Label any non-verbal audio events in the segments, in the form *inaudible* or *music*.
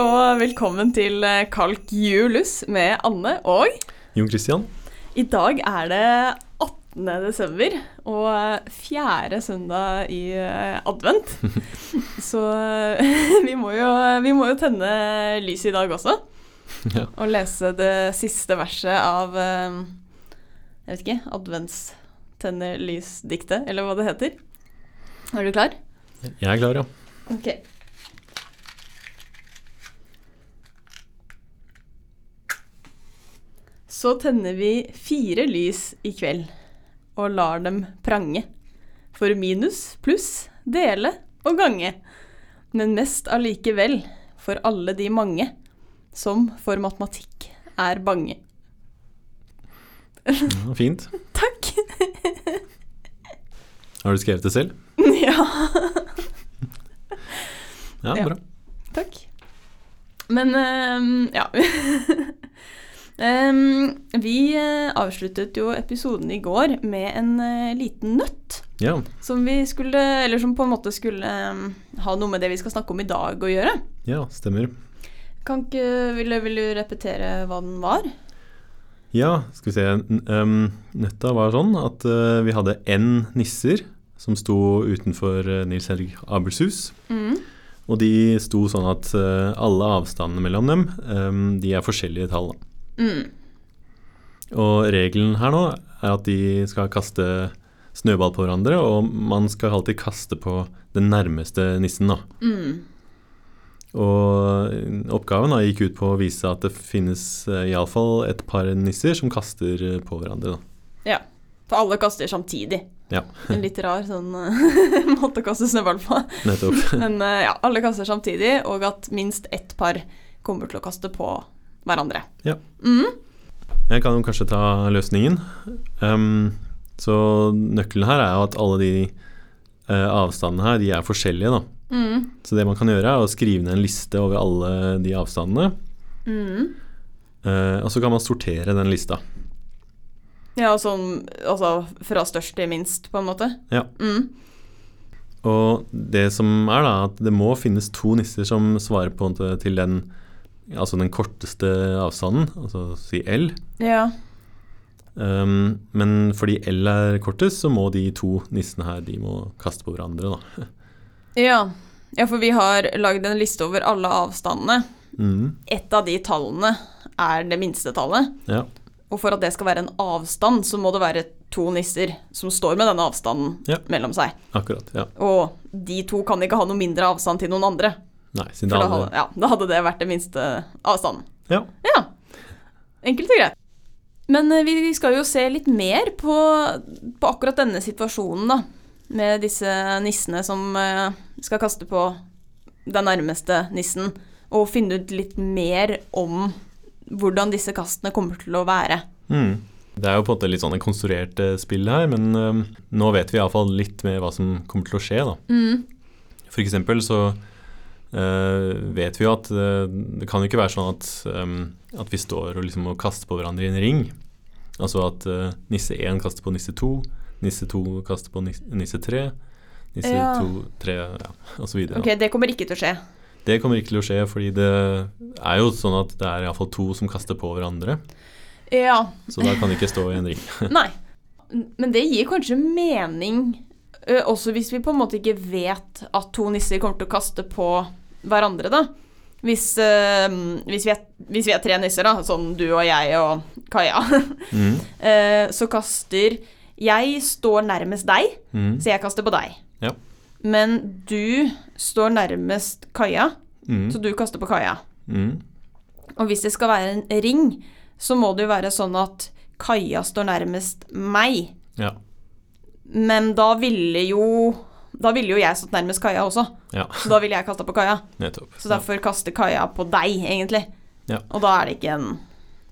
og velkommen til eh, Kalk Julus med Anne og Jon Christian, I dag er det 18. desember og eh, fjerde søndag i eh, advent. *laughs* Så eh, *laughs* vi må, jo, vi må jo tenne lyset i dag *laughs* også. Ja. Og lese det siste verset av eh, Jeg vet ikke Adventstenner-lys-diktet, eller hva det heter. Er du klar? jeg er klar, ja. Ok. Så tenner vi fire lys i kveld og lar dem prange. For minus, pluss, dele og gange. Men mest allikevel for alle de mange som for matematikk er bange. ja. Fint. Takk! *laughs* Har du skrevet det selv? ja. Ja, Ja. bra. Takk. Men ehm, ja. *laughs* Ehm, vi eh, avsluttet jo episoden i går med en eh, liten nøtt. Ja. Som vi skulle Eller som på en måte skulle ehm, ha noe med det vi skal snakke om i dag å gjøre. ja, stemmer. Kan ikke vil, du- vil du repetere hva den var? Ja, skal vi se. N- Um, nøtta var sånn at eh, vi hadde N nisser som sto utenfor eh, Nils Henrik Abelshus. Mm. Og de sto sånn at eh, alle avstandene mellom dem, em, de er forskjellige tall. da. Mm. Og regelen her nå er at de skal kaste snøball på hverandre, og man skal alltid kaste på den nærmeste nissen, da. Mm. Og oppgaven da, gikk ut på å vise at det finnes eh, iallfall et par nisser som kaster eh, på hverandre. Da. Ja. For alle kaster samtidig. Ja. *laughs* En litt rar sånn eh, *laughs* måte å kaste snøball på. Nettopp. *laughs* Men eh, ja, alle kaster samtidig, og at minst ett par kommer til å kaste på hverandre. Ja. Mm. Jeg kan jo kanskje ta løsningen. Ehm, så nøkkelen her er jo at alle de eh, avstandene her, de er forskjellige. Da. Mm. Så det man kan gjøre, er å skrive ned en liste over alle de avstandene. Mm. eh, og så kan man sortere den lista. Ja, og sånn altså fra størst til minst, på en måte. Ja. Mm. Og det som er da, at det må finnes to nisser som svarer på en måte til den, altså den korteste avstanden, altså si L. Ja. Um, men fordi L er kortest, så må de to nissene her de må kaste på hverandre. da. ja. Ja, for vi har lagd en liste over alle avstandene. Mm, Ett av de tallene er det minste tallet. ja. Og for at det skal være en avstand, så må det være to nisser som står med denne avstanden Ja. mellom seg. Akkurat. ja. Og de to kan ikke ha noe mindre avstand til noen andre. Nei, siden For det da alle hadde, ja, da hadde det vært den minste avstanden. Ja. Ja. Enkelt og greit. Men eh, vi skal jo se litt mer på, på akkurat denne situasjonen, da. Med disse nissene som eh, skal kaste på den nærmeste nissen. Og finne ut litt mer om hvordan disse kastene kommer til å være. Mm. Det er jo på en måte litt sånn en konstruert eh, spill her, men um, nå vet vi iallfall litt mer hva som kommer til å skje, da. For eksempel så eh, vet vi jo at eh, det kan jo ikke være sånn at, eh, at vi står og liksom må kaste på hverandre i en ring. Altså at eh, nisse 1 kaster på nisse 2, nisse 2 kaster på nis- nisse 3, nisse Ja. 2, 3 ja, osv. Ok, det kommer ikke til å skje. Det kommer ikke til å skje, fordi det er jo sånn at det er iallfall to som kaster på hverandre. Ja. Så da kan de ikke stå i en ring. *laughs* Nei. Men det gir kanskje mening, ø, også hvis vi på en måte ikke vet at to nisser kommer til å kaste på hverandre, da. Hvis, ø, hvis, vi, er, hvis vi er tre nisser, da, sånn du og jeg og Kaja, *laughs* Mm. ø, så kaster Jeg står nærmest deg, Mm. så jeg kaster på deg. Ja. Men du står nærmest Kaja, Mm. så du kaster på Kaja. Mm. Og hvis det skal være en ring, så må det jo være sånn at Kaja står nærmest meg. Ja. Men da ville jo Da ville jo jeg stått nærmest Kaja også, ja. så da ville jeg kasta på Kaja. Nettopp. Så derfor kaster Kaja på deg, egentlig. Ja. Og da er det ikke en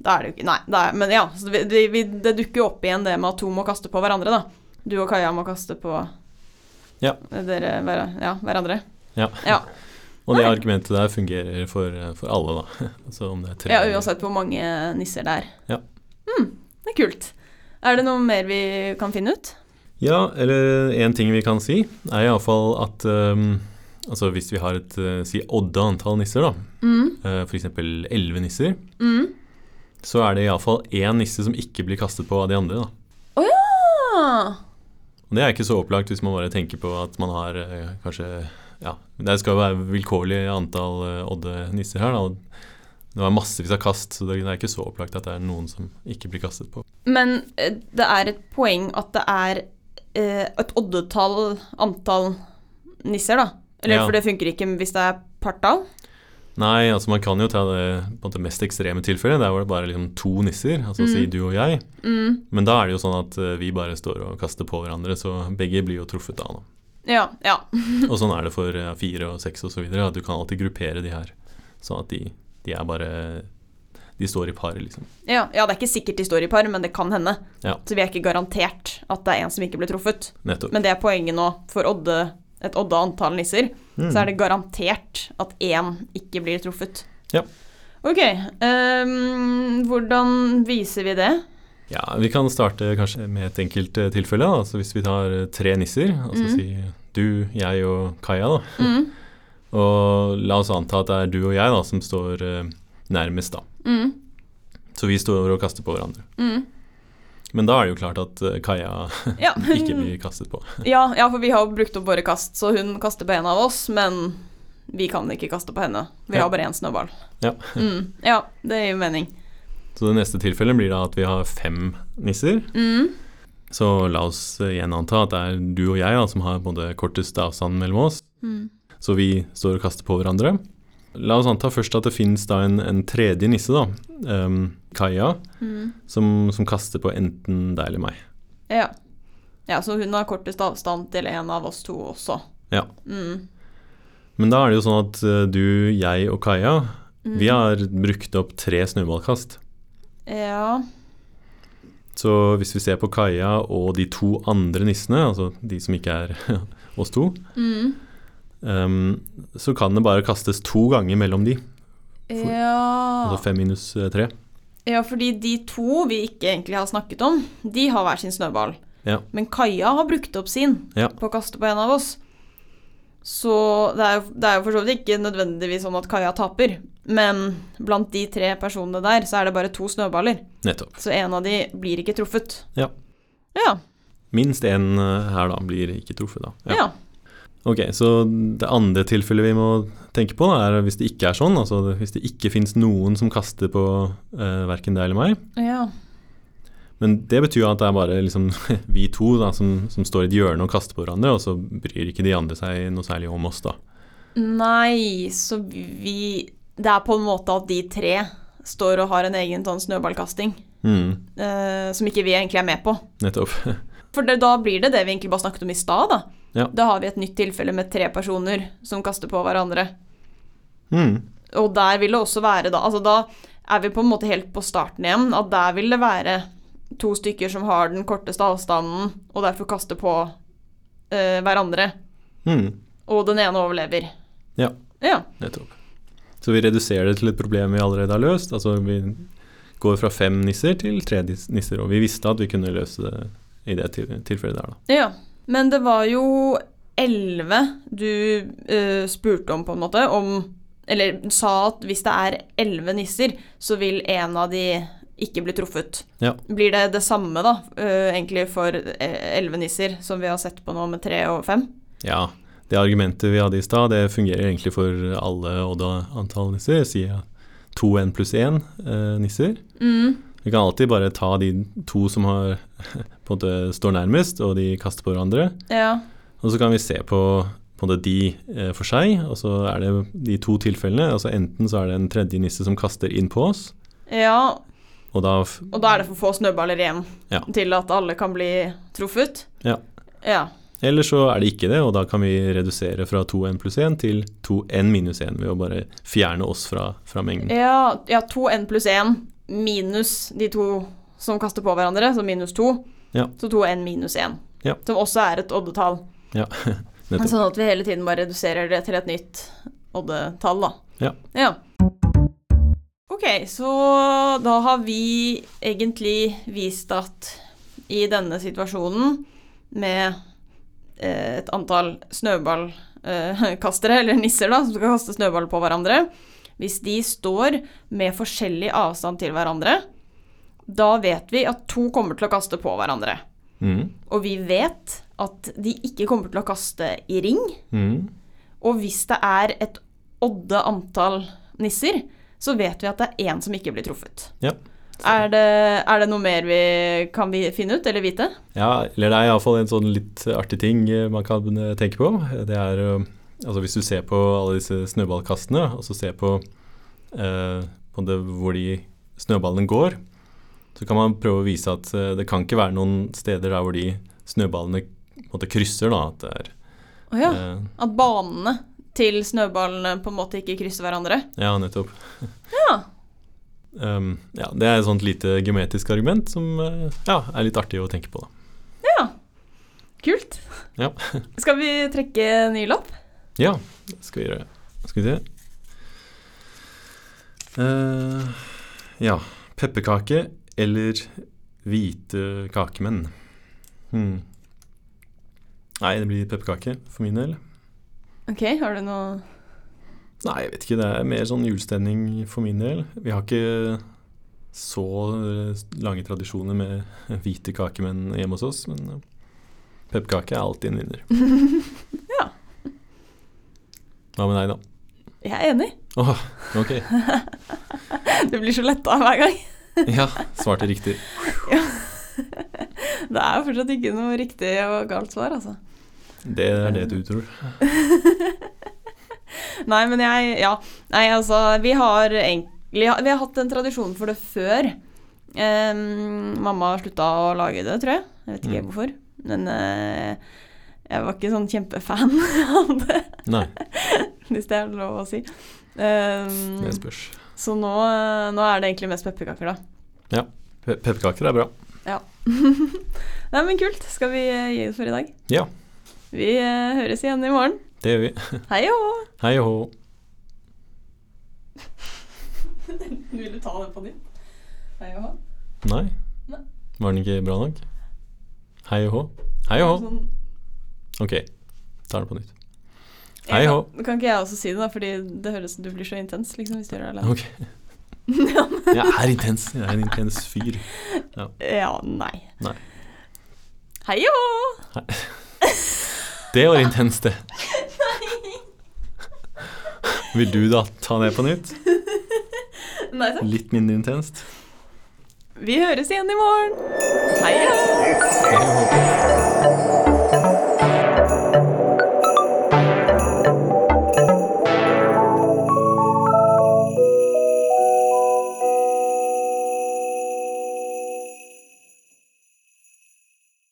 Da er det jo ikke Nei, da er, men ja. Så det, det, vi- det dukker jo opp igjen det med at to må kaste på hverandre, da. Du og Kaja må kaste på Ja. dere hver, ja, hverandre. Ja. Ja. Og det argumentet der fungerer for, for alle, da. *laughs* Så om det er tre ja, uansett hvor mange nisser det er. Ja. Hmm, det er kult. Er det noe mer vi kan finne ut? Ja, eller en ting vi kan si, er iallfall at um, Altså hvis vi har et eh, si odde antall nisser, da, Mm, eh, f.eks. elleve nisser, mm. så er det iallfall én nisse som ikke blir kastet på av de andre. da. Å ja! Og det er ikke så opplagt hvis man bare tenker på at man har eh, kanskje ja, Det skal jo være vilkårlig antall eh, odde-nisser her. da, og det var massevis av kast, så det det er ikke så opplagt at det er noen som ikke blir kastet på. Men eh, det er et poeng at det er eh, et oddetall antall nisser, da. Eller Ja. For det funker ikke hvis det er partall. Nei, altså man kan jo ta det på en måte mest ekstreme tilfellet. Der var det bare liksom to nisser, altså si du og jeg. Mm. Men da er det jo sånn at eh, vi bare står og kaster på hverandre, så begge blir jo truffet da. da. Ja. ja. Og sånn er det for eh, fire og seks og så videre. at Du kan alltid gruppere de her, sånn at de, de er bare De står i par, liksom. Ja, ja, det er ikke sikkert de står i par, men det kan hende. Ja. Så vi er ikke garantert at det er en som ikke ble truffet. Nettopp. Men det er poenget nå. For odde, et odde antall nisser, Mm. så er det garantert at én ikke blir truffet. Ja. Ok. ehm, hvordan viser vi *laughs* det? Ja, Vi kan starte kanskje med et enkelt eh, tilfelle. da. Altså Hvis vi tar eh, tre nisser, altså Mm. si du, jeg og Kaja, da. Mm, Og la oss anta at det er du og jeg da, som står eh, nærmest, da. mm, Så vi står og kaster på hverandre. mm. Men da er det jo klart at eh, Kaja Ja. *laughs* ikke blir kastet på. ja, ja, for vi har jo brukt opp våre kast, så hun kaster på en av oss, men vi kan ikke kaste på henne. Vi Ja. har bare én snøball. Ja. Mm, ja, det gir mening. Så det neste tilfellet blir da at vi har fem nisser. Mm, Så la oss eh, igjen anta at det er du og jeg da, som har både kortest avstand mellom oss, mm, så vi står og kaster på hverandre. La oss anta først at det finnes da en, en tredje nisse, da, em, Kaja, mm. som, som kaster på enten deg eller meg. Ja. ja, så hun har kortest avstand til en av oss to også. Ja. Mm. Men da er det jo sånn at eh, du, jeg og Kaja, Mm. vi har brukt opp tre snøballkast. Ja. Så hvis vi ser på Kaja og de to andre nissene, altså de som ikke er *laughs* oss to, Mm. em, så kan det bare kastes to ganger mellom de. Ja. Altså fem minus eh, tre. ja, fordi de to vi ikke egentlig har snakket om, de har hver sin snøball. Ja. Men Kaja har brukt opp sin Ja. på å kaste på en av oss. Så det er, jo- det er jo for så vidt ikke nødvendigvis sånn at Kaja taper. Men blant de tre personene der, så er det bare to snøballer. Nettopp. Så en av de blir ikke truffet. Ja. Ja. Minst én eh, her da blir ikke truffet, da. Ja. Ok, så det andre tilfellet vi må tenke på, da, er hvis det ikke er sånn, altså det- hvis det ikke fins noen som kaster på eh, verken deg eller meg. ja. Men det betyr jo at det er bare liksom, *laughs* vi to da, som, som står i et hjørne og kaster på hverandre, og så bryr ikke de andre seg noe særlig om oss, da. Nei, så vi Det er på en måte at de tre står og har en egen sånn snøballkasting Mm, eh, som ikke vi egentlig er med på. nettopp. *laughs* For det, da blir det det vi egentlig bare snakket om i stad, da. Ja. Da har vi et nytt tilfelle med tre personer som kaster på hverandre. Mm, Og der vil det også være da Altså da er vi på en måte helt på starten igjen, at der vil det være to stykker som har den korteste avstanden, og derfor kaster på eh, hverandre. mm, Og den ene overlever. Ja. Ja. nettopp. Så vi reduserer det til et problem vi allerede har løst. Altså vi går fra fem nisser til tre dis- nisser, og vi visste at vi kunne løse det i det til- tilfellet der, da. Ja, men det var jo elleve du eh, spurte om, på en måte. Om, eller sa at hvis det er elleve nisser, så vil en av de ikke bli truffet. Ja. Blir det det samme, da, eh, egentlig for eh, elleve nisser, som vi har sett på nå med tre og fem? Ja, det argumentet vi hadde i stad, det fungerer egentlig for alle odda-antall nisser. Sier jeg to n pluss én eh, nisser. Vi kan alltid bare ta de to som har, *laughs* på en måte står nærmest, og de kaster på hverandre. Ja. Og så kan vi se på, på en måte de eh, for seg, og så er det de to tilfellene. altså Enten så er det en tredje nisse som kaster inn på oss, ja. og da f- Og da er det for få snøballer igjen Ja. til at alle kan bli truffet? Ja. ja. Eller så er det ikke det, og da kan vi redusere fra 2n pluss 1 til 2n minus 1 ved å bare fjerne oss fra, fra mengden. Ja, ja, to N pluss én minus de to som kaster på hverandre, så minus to. Ja. Så to N minus én, Ja. som også er et oddetall. Ja, *laughs* nettopp. sånn at vi hele tiden bare reduserer det til et nytt oddetall, da. Ja. Ok, så da har vi egentlig vist at i denne situasjonen med eh, et antall snøball eh, kastere, *laughs* eller nisser, da, som skal kaste snøball på hverandre Hvis de står med forskjellig avstand til hverandre, da vet vi at to kommer til å kaste på hverandre. Mm. Og vi vet at de ikke kommer til å kaste i ring. Mm. Og hvis det er et odde antall nisser, så vet vi at det er én som ikke blir truffet. Ja. Er det, er det noe mer vi kan vi finne ut eller vite? ja. Eller det er iallfall en sånn litt artig ting eh, man kan eh, tenke på. Det er eh, altså hvis du ser på alle disse snøballkastene, og så ser på, eh, på det, hvor de snøballene går, så kan man prøve å vise at eh, det kan ikke være noen steder der hvor de snøballene på en måte krysser. da, at det er Å ja. eh, At banene til snøballene på en måte ikke krysser hverandre. Ja, nettopp. Ja. *laughs* Um, ja, det er et sånt lite geometrisk argument som eh, ja, er litt artig å tenke på. Da. Kult. Ja. *laughs* Skal vi trekke ny lapp? Ja, det skal vi gjøre. Skal vi se. Eh, ja, pepperkake eller hvite kakemenn? Hmm. Nei, det blir pepperkake for min del. Ok, har du noe Nei, jeg vet ikke. Det er mer sånn julestemning for min del. Vi har ikke så eh, lange tradisjoner med *laughs* hvite kakemenn hjemme hos oss, men eh, pepperkake er alltid en vinner. Ja. Hva med deg, da? Jeg er enig. Åh, ok. Du blir så letta hver gang. *laughs* Ja, svarte riktig. Det er jo fortsatt ikke noe riktig og galt svar, altså. Det er det du tror. Nei, men jeg Ja. Nei, altså, vi har egentlig Vi har hatt en tradisjon for det før. Ehm, mamma slutta å lage det, tror jeg. Jeg vet ikke Mm. hvorfor. Men eh, jeg var ikke sånn kjempefan *laughs* av det, Nei, hvis det er lov å si. Ehm, det spørs. så nå, eh, nå er det egentlig mest pepperkaker, da. Pe pepperkaker er bra. Nei, men kult. Skal vi eh, gi oss for i dag? Ja. Vi eh, høres igjen i morgen. Det gjør vi. Hei og hå! Hei og hå. Vil du ta det på nytt? Hei og hå. Nei. Nei. Var den ikke bra nok? Hei og hå. Hei og hå. Sånn- Ok, tar den på nytt. Hei og hå. Nå kan ikke jeg også si det, da, fordi det høres du blir så intens liksom, hvis du gjør det alene. Ok. Jeg er intens. Jeg er en intens fyr. Ja, nei. Nei. Hei jo! Det var intenst, det. Vil du da ta det på nytt? *laughs* Nei takk. Litt mindre intenst? Vi høres igjen i morgen. Hei